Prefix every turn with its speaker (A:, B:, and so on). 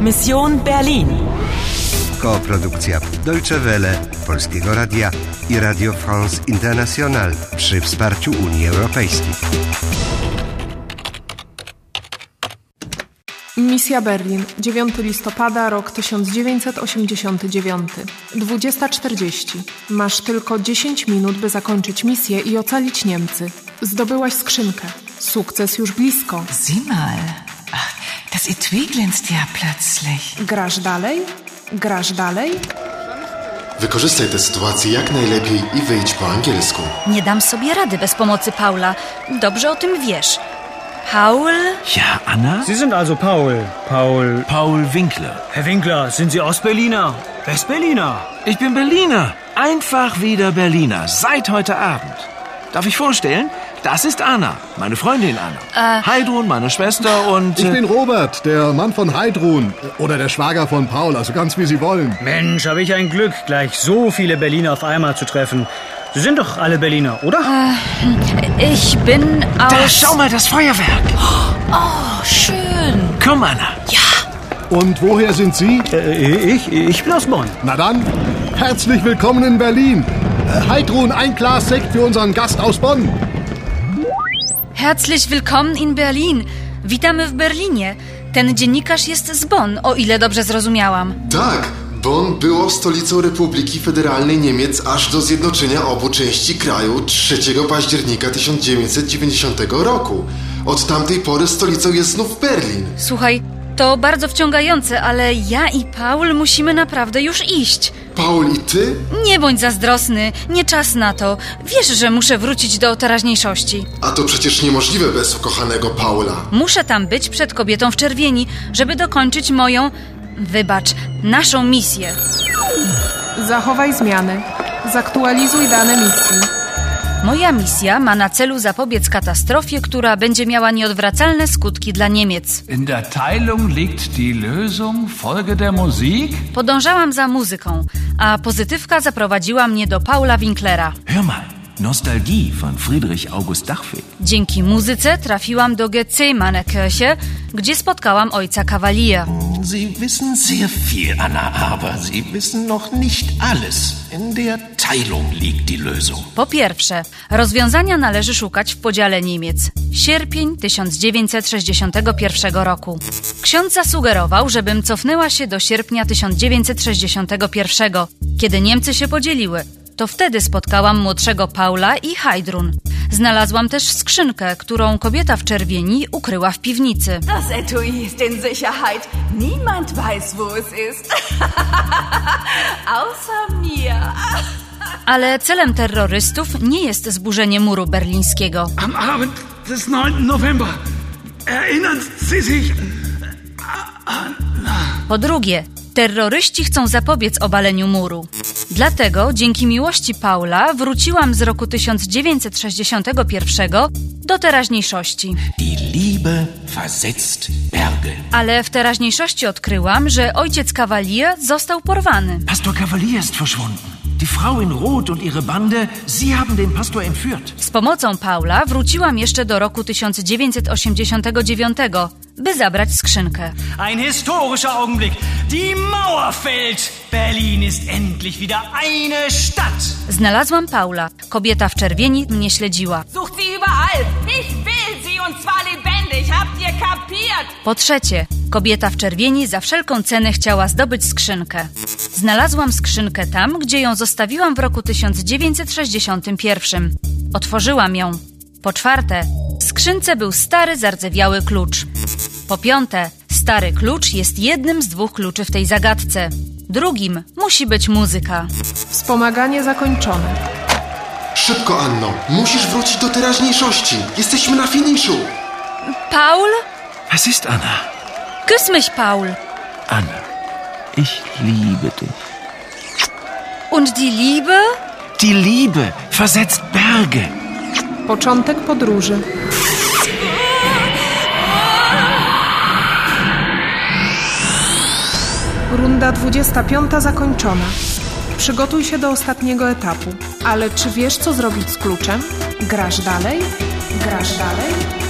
A: Mission Berlin.
B: Koprodukcja Deutsche Welle, Polskiego Radia i Radio France International przy wsparciu Unii Europejskiej.
C: Misja Berlin, 9 listopada, rok 1989, 20.40. Masz tylko 10 minut, by zakończyć misję i ocalić Niemcy. Zdobyłaś skrzynkę. Sukces już blisko.
D: Sieh mal, Ach, das Etui glänzt ja plötzlich.
C: Grasz dalej? Grasz dalej?
E: Wykorzystaj tę sytuację jak najlepiej i wyjdź po angielsku.
F: Nie dam sobie rady bez pomocy Paula. Dobrze o tym wiesz. Paul?
G: Ja, Anna?
H: Sie sind also Paul. Paul.
G: Paul Winkler.
H: Herr Winkler, sind Sie Ostberliner? Westberliner?
G: Ich bin Berliner. Einfach wieder Berliner. Seit heute Abend. Darf ich vorstellen? Das ist Anna, meine Freundin Anna. Heidrun, meine Schwester und...
I: Ich
G: äh,
I: bin Robert, der Mann von Heidrun. Oder der Schwager von Paul, also ganz wie Sie wollen.
H: Mensch, habe ich ein Glück, gleich so viele Berliner auf einmal zu treffen. Sie sind doch alle Berliner, oder?
F: Ich bin aus...
G: da, schau mal, das Feuerwerk.
F: Oh, schön.
G: Komm, Anna.
I: Und woher sind Sie?
H: Äh, ich, ich bin aus Bonn.
I: Na dann, herzlich willkommen in Berlin. Äh, Heidrun, ein Glas Sekt für unseren Gast aus Bonn.
F: Herzlich willkommen in Berlin. Witamy w Berlinie. Ten dziennikarz jest z Bonn, o ile dobrze zrozumiałam.
E: Tak, Bonn było stolicą Republiki Federalnej Niemiec aż do zjednoczenia obu części kraju 3 października 1990 roku. Od tamtej pory stolicą jest znów Berlin.
F: Słuchaj, to bardzo wciągające, ale ja i Paul musimy naprawdę już iść.
E: Paul i ty?
F: Nie bądź zazdrosny, nie czas na to. Wiesz, że muszę wrócić do teraźniejszości.
E: A to przecież niemożliwe bez ukochanego Paula.
F: Muszę tam być przed kobietą w czerwieni, żeby dokończyć moją, wybacz, naszą misję.
C: Zachowaj zmiany. Zaktualizuj dane misji.
F: Moja misja ma na celu zapobiec katastrofie, która będzie miała nieodwracalne skutki dla Niemiec.
J: In der Teilung liegt die Lösung. Folge der Musik.
F: Podążałam za muzyką, a pozytywka zaprowadziła mnie do Paula Winklera.
G: Hör mal, Nostalgie von Friedrich August Dachwig.
F: Dzięki muzyce trafiłam do Gethsemanekirche, gdzie spotkałam ojca Cavalier.
K: Sie wissen sehr viel, Anna, aber Sie wissen noch nicht alles. In der Teilung liegt die Lösung.
F: Po pierwsze, rozwiązania należy szukać w podziale Niemiec. Sierpień 1961 roku. Ksiądz zasugerował, żebym cofnęła się do sierpnia 1961, kiedy Niemcy się podzieliły. To wtedy spotkałam młodszego Paula i Heidrun. Znalazłam też skrzynkę, którą kobieta w czerwieni ukryła w piwnicy.
D: Das Etui ist in Sicherheit. Niemand weiß, wo es ist. Außer mir.
F: Ale celem terrorystów nie jest zburzenie muru berlińskiego.
J: Am Abend des 9. November. Erinnern Sie sich
F: Po drugie, terroryści chcą zapobiec obaleniu muru. Dlatego dzięki miłości Paula wróciłam z roku 1961 do teraźniejszości.
K: Die Liebe versetzt Berge.
F: Ale w teraźniejszości odkryłam, że ojciec Cavalier został porwany.
G: Pastor Cavalier ist verschwunden. Die Frau in Rot und ihre Bande, sie haben den Pastor entführt.
F: Z pomocą Paula wróciłam jeszcze do roku 1989, by zabrać skrzynkę.
H: Ein historischer Augenblick. Die Mauer fällt. Berlin ist endlich wieder eine Stadt.
F: Znalazłam Paula. Kobieta w czerwieni mnie śledziła.
D: Sucht sie überall. Ich will sie und zwar lebendig. Habt ihr kapiert?
F: Po trzecie, kobieta w czerwieni za wszelką cenę chciała zdobyć skrzynkę. Znalazłam skrzynkę tam, gdzie ją zostawiłam w roku 1961. Otworzyłam ją. Po czwarte, w skrzynce był stary, zardzewiały klucz. Po piąte, stary klucz jest jednym z dwóch kluczy w tej zagadce. Drugim musi być muzyka.
C: Wspomaganie zakończone.
E: Szybko, Anno. Musisz wrócić do teraźniejszości. Jesteśmy na finiszu.
F: Paul?
G: Was ist, Anna?
F: Küss mich, Paul.
G: Anna, ich liebe dich.
F: Und die Liebe?
G: Die Liebe versetzt Berge.
C: Początek podróży. Runda 25 zakończona. Przygotuj się do ostatniego etapu. Ale czy wiesz, co zrobić z kluczem? Grasz dalej? Grasz dalej?